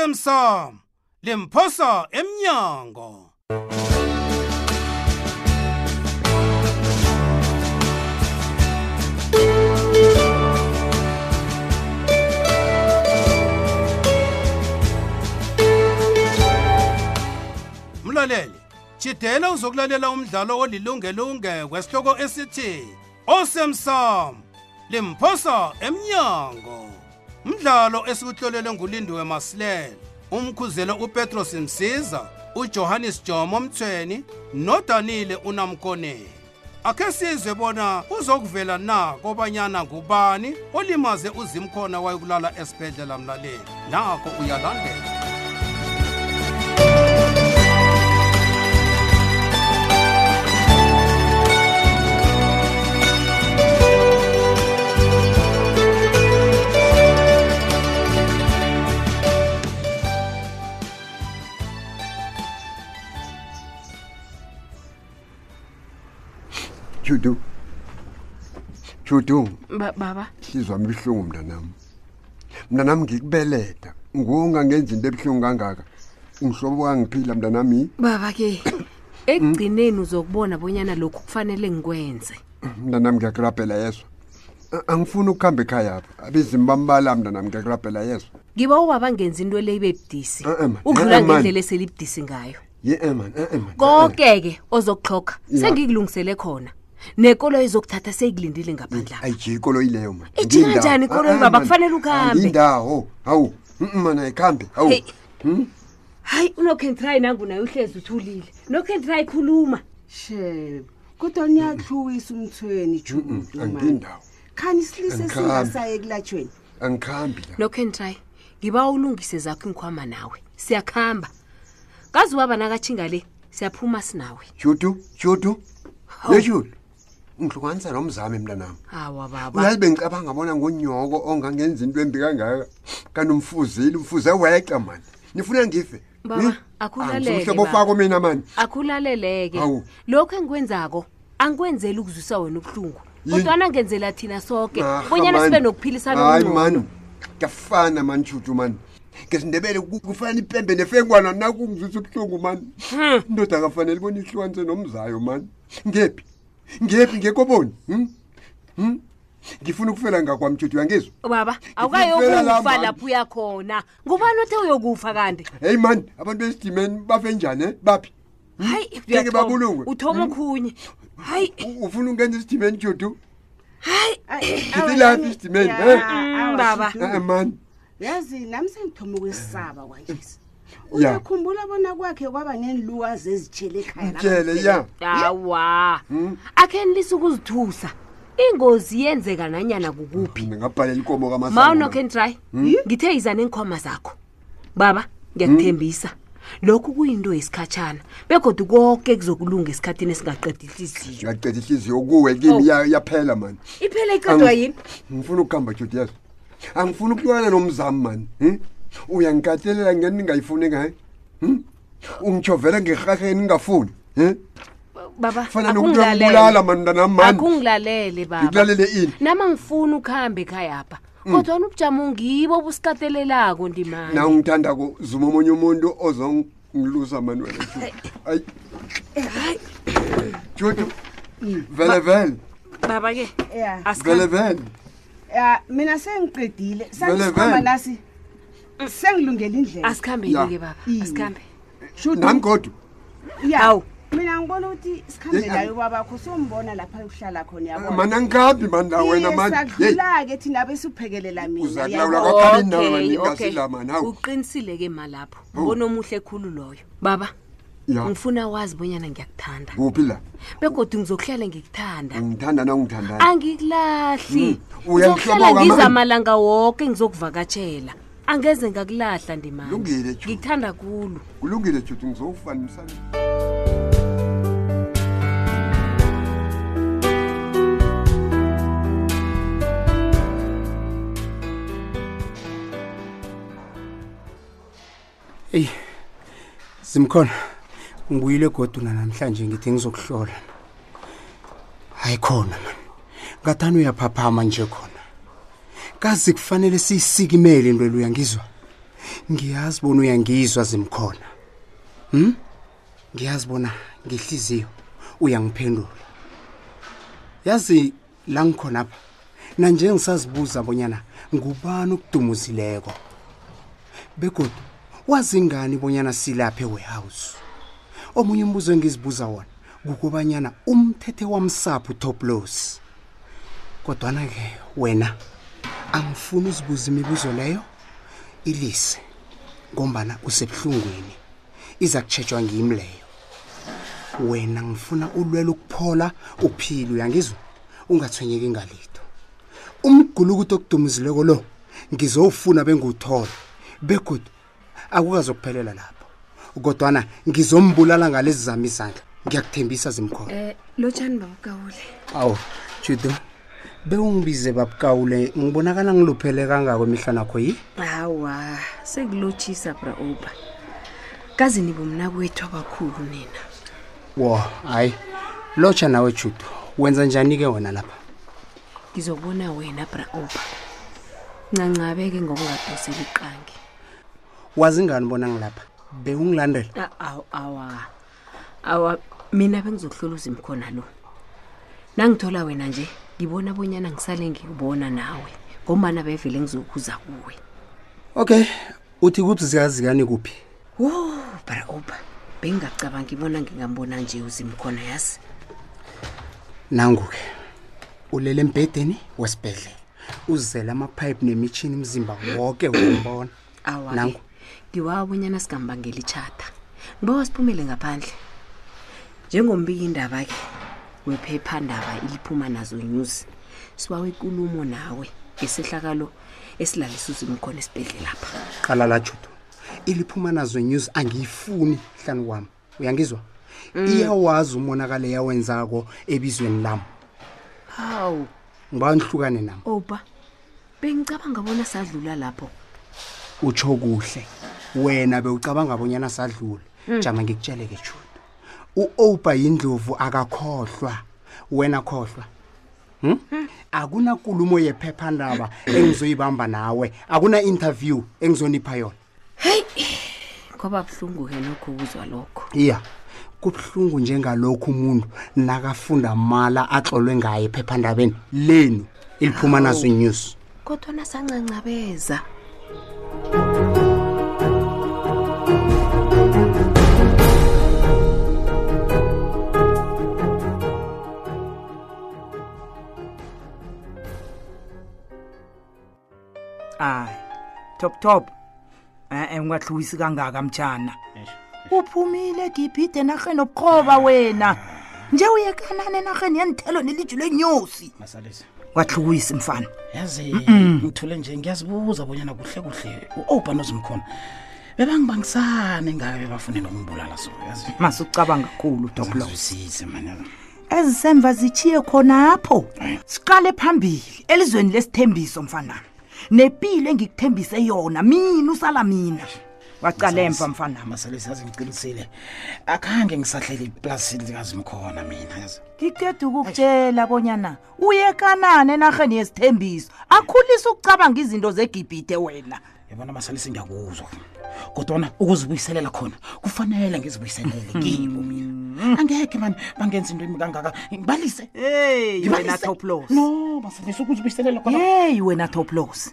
osemsamo lemphosa emnyango mlaleli jidela uzokulalela umdlalo olilungelo ungekwe sihloko esithi osemsamo limphosa emnyango umdlalo esiwuhlolelwe ngulindiwe masilela umkhuzelo upetros msiza ujohannes jomo mthweni nodanile unamkoneni akhe sizwe bona uzokuvela na kobanyana ngubani olimaze uzimkhona wayekulala esibhedlela mlaleli nakho uyalandela Judu. Judu, Ba- baba sizwa mhlungu mntanami. Mntanami ngikubeletha. Ngunga ngenza into ebhlungu kangaka. Umhlobo wangiphila mntanami. baba ke ekugcineni uzokubona bonyana lokhu kufanele ngikwenze Mntanami ngiyakurabhela yezwa. A- Angifuni ukuhamba ekhaya apha. Abezimi bambala mntanami ngiyakurabhela yezwa. ngiba ubaba ngenza into le ibe budisi Eh, eh, man. udlula Eh, man. ngendlela eselibudisi ngayo Ye man, eh eh, man. konke-ke ozokuxhoga Ya. sengikulungisele khona nekolo izokuthatha seyikulindile eh. ngaphandlapha Ayijikolo ileyo man. Ijika Ngiyindawo. Eh, njani ikoloyi, Ah, ah, baba? man. Kufanele ukuhambe. Ngiyindawo. Hawu. Mm, Mana ayikhambe. Hawu. Hey. Hmm? hayi unokentry nangunaye uhlezi uthulile nokentry khuluma she kodwa niyahluwisa umthweni judu Angiyindawo. khani silise Angikhambi. singasaye kulatshweni Angikhambi la. nokentry ngiba ulungise zakho ingikhwama nawe siyakuhamba kazi ubaba nakatshinga le siyaphuma sinawe Judu, Judu. Hawu. Yejulu. Ngihlukanisa nomzamo mntanami. hawa baba uyazi bengicabanga bona ngunyoko ongangenza into embi kangaka kanti umfuzile umfuze weca mani nifuna ngife Hm? Baba, akhulaleke, hlobo baba. fako mina mani akhulaleleke Hawu. lokhu engikwenzako angikwenzeli ukuzwisa wena ubuhlungu Yini? kodwana ngenzela thina soke Narha, bonyana Ah, mani. sibe nokuphilisana hayi okungcono. mani kuyafana mani shutu mani ngesindebele ku- kufana ipembe nefengwana nakungizwisa ubuhlungu mani Hmm. indoda akafanele bona ihlukanise nomzayo mani ngephi ngephi ngekoboni hmm? hmm? ngifuna ukufela ngakwamtshutu uyangizwa baba Ngifela la, awukayokufa mani. lapho uyakhona ngubani othe uyokufa kanti heyi mani abantu besidimeni bafe njani eh? baphi hayi Ngeke uyathoma. babulungwe. Hmm? uthoma okhunye hayi U- ufuna ungenza isidimeni shutu Awa, Ngilaphi isidimeni, ya, he? awa, Mm, baba. Judu. Eh man, yazi nami sengithoma ukwesisaba kwanjesi Ya. uyakhumbula bona kwakhe kwaba nenluwazi ezitshele ekhaya lapha mtshele ya. awa Hmm? akhe nilise ukuzithusa ingozi yenzeka nanyana kukuphi Phinde ngabhalela inkomo ma Hmm? kamasana. unokentry Hmm? ngithe yiza neenkhwama zakho baba ngiyakuthembisa Hmm? lokhu kuyinto yesikhatshana begodwa konke kuzokulunga esikhathini esingaqeda ihliziyo Ngiyacela ihliziyo kuwe Oh. kimi ya- yaphela man. iphela Angi- iqedwa yini Ngifuna ukuhamba Judy yes. Angifuni ukuhlukana nomzamo man. hm? Uyangikatelela ngene ngayifuni ngaye. Hm? Ungijovela ngehaheni ngafuni. Hm? baba Fana nokuthi akungilalele. uyangibulala man mntana man. akungilalele baba Ngikulalele ini? nama ngifuna ukuhambe ekhayapha kodwa nobujamo ngibo busikatelelako ndimani Hmm. Na ungithanda ko zuma omunye umuntu ozongilusa man wena. Judy. Ay. Eh, Judy. Hmm. Vele vele. baba ke ya Vele asikhambe vele. ya mina sengiqedile Vele, sengisikhamba vele. nasi Mm. sengilungela Ya. indlela asikhambe-ke baba Iye. asikhambe Nami kodwa. Ya. Awu. mina ngibona ukuthi Yeyi, sikhambe ayi. nayo babakho sombona lapha yokuhlala khona yabona mana ngikhambi Eh, mani la Ah, wena Iye, mani Hey, sadlula-ke thina besuphekelela mina Uzakulawula uyabona? kwaphela indaba Okay, ningasi okay. la, man, hawu. uqinisile-ke malapho Hawu. ngonomuhle khulu loyo baba ya ngifuna wazi bonyana ngiyakuthanda kuphi la begodwa ngizokuhlala ngikuthanda ungithanda nangungithandayo angikulahli Mm, uyangihloboka, man. ngizamalanga woke ngizokuvakatshela angeze ngakulahla ndimani Kulungile, Judy. ngikuthanda kulu kulungile judu ngizowufanisana eyi zimkhona ngibuyile goduna namhlanje ngithi ngizokuhlola hayi khona mani ngathani uyaphaphama nje khona kazi kufanele siyisikimele into luyangizwa ngiyazi bona uyangizwa zimkhona hm ngiyazi bona ngihliziyo uyangiphendula yazi la ngikhona apha nanje ngisazibuza bonyana ngubani okudumuzileko begodu wazi ngani bonyana silaphe warehouse omunye umbuzo engizibuza wona kukobanyana umthethe wamsapho utoplos kodwana-ke wena angifuni uzibuza imibuzo leyo ilise ngombana usebuhlungwini iza kutshejwa ngimi leyo wena ngifuna ulwela ukuphola uphile uyangizwa ungathwenyeki ngalitho umgulukuto okudumuzileko lo ngizowufuna bengiwuthola begodu akukazokuphelela lapho kodwana ngizombulala ngalezi zami izandla ngiyakuthembisa zimkhona um lotshani babukawule awu judo bewungibize babukawule ngibonakala ngiluphele kangako imihla nakho yi hawa sekulotshisa bra oba kazi nibo mna kwethu abakhulu nina wo hayi lotsha nawe judo wenza njani-ke wona lapha ngizobona wena bra oba ncancabeke ngokungadosela iqangi wazi ngani bona ngilapha bewungilandela A- Ah, aw- awa awa mina bengizokuhlola uzimkhona lo nangithola wena nje ngibona bonyana ngisale ngikubona nawe ngombana bevele ngizokhuza kuwe okay uthi kubuzikazikani kuphi wo bra oba bengingacabanga ngibona ngingambona nje uzimkhona yazi nangu-ke ulele embhedeni wesibhedlela uzele amaphayiphi nemitshini imzimba woke wombona awa nangu ngiwabonyana sikambangela itshata ngiba wasiphumele ngaphandle njengombika indaba-ke wephephandaba iliphuma nazo news sibawe ikulumo nawe ngesehlakalo esilalisa uzimkhona esibhedlela lapha qala la judo iliphuma nazo news angiyifuni hlanu kwami uyangizwa iyawazi umonakalo yawenzako ebizweni lami hawu ngiba nihlukane nami oba bengicabanga bona sadlula lapho utsho kuhle wena bewucabanga abonyana sadlule jama ngikutsheleke judo u-oba yindlovu akakhohlwa wena khohlwa Hmm? akunakulumo yephephandaba engizoyibamba nawe akuna-interview engizonipha yona ngoba buhlungu-ke nokho ukuzwa lokho iya kubuhlungu njengalokhu umuntu nakafunda mala atlolwe ngaye ephephandabeni lenu eliphuma nazo inews kodwa nasancancabeza ayi Ah, top top e-e ungahluyisi kangaka mtshana uphumile dibhide enarheni obukhoba wena nje uyekanani enarheni yenithelo neliju lenyosi masalisa ungahlukuyisi mfana yazi ngithule nje ngiyazibuza bonyana kuhle kuhle u-oban ozimkhona bebangibangisane ngabe bafune nokumbulala so yazi masucabanga kakhulu doblo Ngizwisise mani yazi. ezisemva zitshiye khonapho siqale phambili elizweni lesithembiso mfanami nempilo engikuthembise yona mina usala mina wacala emva mfanami masalisa yazi ngiqinisile akhange ngisahlele iplasini likazimkhona mina yazi ngiceda ukukutshela bonyana uyekanani enarheni yesithembiso akhulise ukucabanga izinto zegibhide wena yabona masalisa ngiyakuzwa kodwana ukuzibuyiselela khona kufanele ngizibuyiselele ngibo mina angeke mani bangenza into imi kangaka ngibalise heyi wena Ngibalise. toplos no masalisa ukuzibuyiselela khona yeyi wena toplos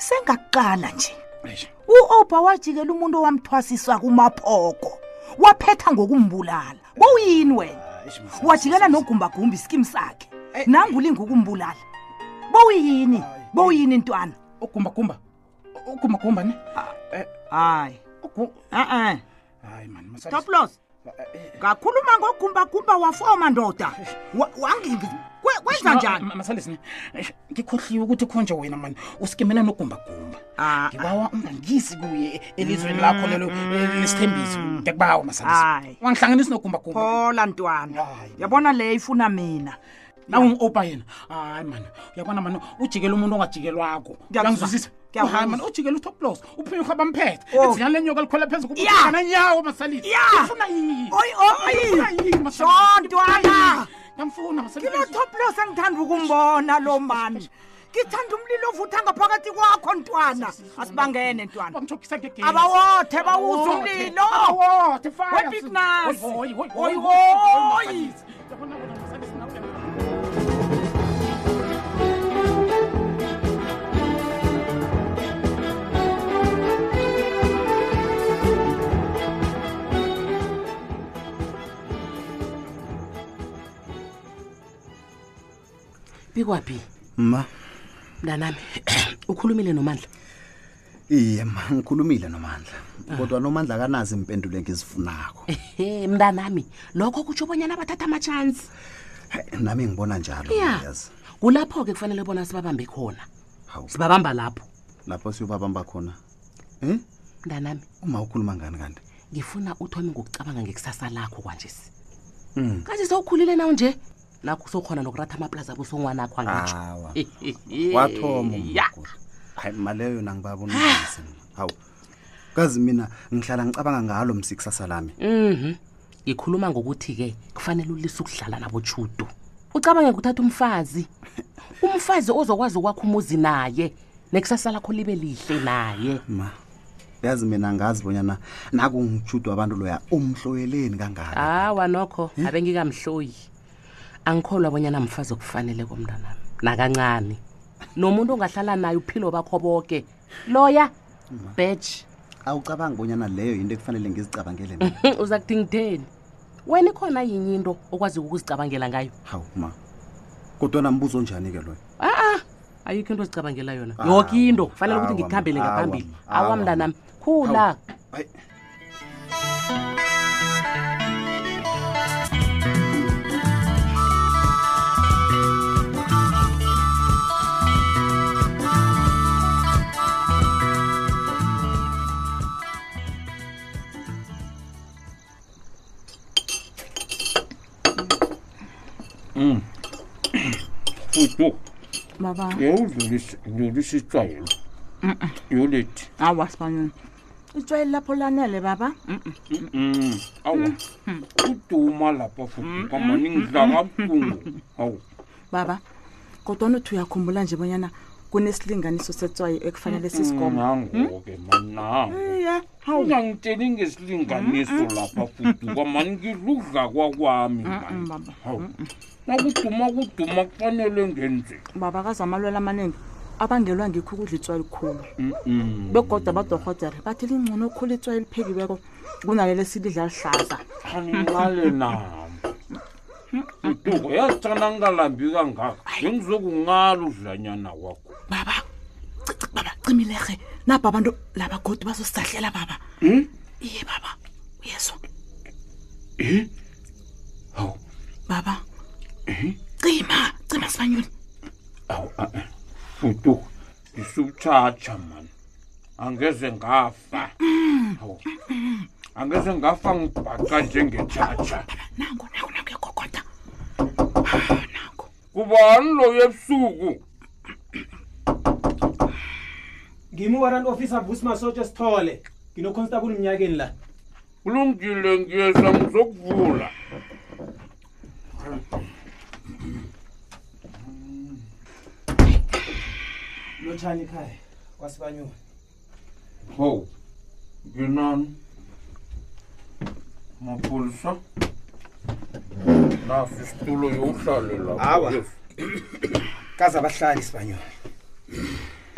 sengakuqala nje Eish. u-oba wajikela umuntu owamthwasisa kumaphoko waphetha ngokumbulala bowuyini wena Eish, masalisa. wajikela nogumbagumba isikimu sakhe nangulinga ukumbulala bowuyini bowuyini ntwana ugumbagumba ugumbagumba ne hayi Ugu- e-e hayi mani masalisa toplos ngakhuluma ngogumbagumba wafoma ndoda Wa- wangingi kwe- kwenza njani masalisi ne Eish, ngikhohliwe ukuthi khonje wena mani usikimena nogumbagumba Ah, Mm. ngibawa ungangisi kuye elizweni lakho lelo lesithembiso ngiyakubawa masalisa Hayi. wangihlanganisi nogumbagumba phola ntwana Hayi. yabona le ifuna mina nawungi-opa yena hayi mani uyabona mani ujikela umuntu ongajikelwako Ngiyakuzwa. uyangizwisisa Oh, Ngiyakuzwa. hayi mani ujikela utoplos uphinyurha bamphetha Oh. izinyana lenyoka likhwela phezu Ya. kubananyawo masalisa Ya. ufuna yini Oyi, oyi. Ufuna yini, masalisa? Sho, ntwana. Ngiyamfuna masalisa kilotoplos engithanda ukumbona lo mani ngithanda umlilo ovutha ngaphakathi kwakho ntwana asibangene ntwana bamthokisa abawothe bawuza umlilo Oyi, bikwaphi ma mntanami ukhulumile nomandla iye ma ngikhulumile nomandla Ah. kodwa nomandla akanazi impendulo engizifunako ehe mntanami lokho kutsho bonyana bathatha amatshansi Hayi, nami ngibona njalo ya yazi kulapho-ke kufanele bona sibabambe khona hawu sibabamba lapho lapho siyobabamba khona mntanami uma ukhuluma ngani kanti ngifuna uthome ngokucabanga ngekusasa lakho kwanjesi kanje sewukhulile nawo nje lakho sokhona nokuratha amaplaza abosongwanakho Awa. angitsho wathoma ya umagodi. hayi maleyo nangibabonise hawu kazi mina ngihlala ngicabanga ngalo msikusasa lami mhm ngikhuluma ngokuthi-ke kufanele ulise ukudlala nabotshudo ucabange ukuthatha umfazi umfazi ozokwazi ukwakha umuzi naye nekusasa lakho libe lihle naye ma yazi mina ngazi bonyana nakungijudwa abantu loya umhloyeleni kangaka hawa nokho abe ngikamhloyi angikholwa bonyana mfazi okufanele komntanami nakancane nomuntu ongahlala naye uphilo bakho boke loya bej awucabangi bonyana leyo yinto ekufanele ngizicabangele mina uza kuthi ngitheni wena ikhona yinye into okwazi ukuzicabangela ngayo hawu ma kodwana mbuzo njani-ke loyo a-a Ah, ayikho into ozicabangela yona Awa, yoke into fanele ukuthi awa, ngikuhambele awa, ngaphambili awa. awa mntanami khula hayi baba yawudlulisa itswayelo yolethi awa sibanyoni itswayeli lapho lanele baba Mm, awu Hmm, uduma lapha futhi kwamani ngidla kabuhlungu Hmm. awu baba kodwana uthi uyakhumbula nje bonyana kunesilinganiso setswayo ekufanele Hmm, sisigoma nango-ke Hmm? manango iye hawu ungangitsheli Hmm, ngesilinganiso lapha futhi kwamani ngidludla kwakwami Mm, mani baba. hawu nakuduma kuduma kufanele ngenze baba kazamalwela amaningi abangelwa ngikho ukudla itswayi likhulu begoda abadorhodere bathi lingcono okhulu itswayi eliphekiweko kunalelo silidla lihlaza aninqale nabo uduko yazithana ngingalambi kangaka bengizokunqala udlanyana wakho baba cici baba cimilerhe napa abantu laba godi bazosisahlela baba iye baba uyezwa hawu baba cima cima sibanyoni awu a-a futuka ngisukutshatsha mani angeze ngafa hawu angeze ngafa ngibhaqa njengetshatsha nango nango nango yagogoda nango kubani loyo ebusuku ngimi warrant officer busi masotsha sithole nginokhonstabule emnyakeni la kulungile ngiyeza ngizokuvula lotshani ekhaya kwasibanyoni hawu nginani mapolisa naso isitulo yowuhlalela Awa. kaze abahlali sibanyoni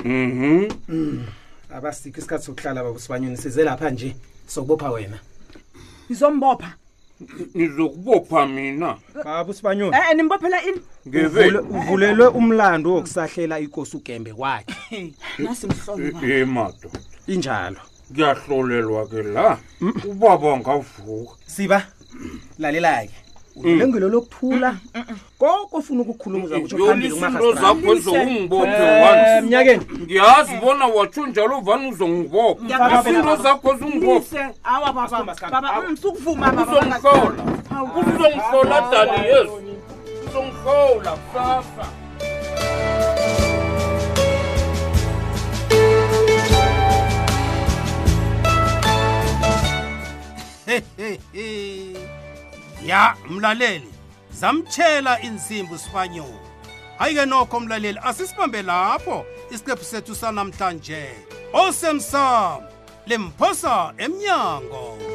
mhm abasikho isikhathi sokuhlala babo sibanyoni size lapha nje sokubopha wena nizombopha nizokubopha mina baba usibanyoni e-e nimbophela ini ngeve uvulelwe umlando wokusahlela ikosi ugembe kwakhe nasimhlolo baba e madoda injalo kuyahlolelwa ke la ubaba ngavuka siba lalela-ke ululengelo lokuthula koko ofuna ukukhuluma uzakutsho phambili yolisinto kumahasimnyakeni zakho ezongibophe once ngiyazi bona watsho njalo vane Ngiyakubopha, uzongibopha isinto baba. zakho zingibophe awa baba msukuvuma uzongihlola uzongihlola dani yesu uzongihlola kusasa Eh, ya mlaleli zamtshela insimbi usibanyoni hayi ke nokho mlaleli asisibambe lapho isiqephu sethu sanamhlanje osemsam limphosa emnyango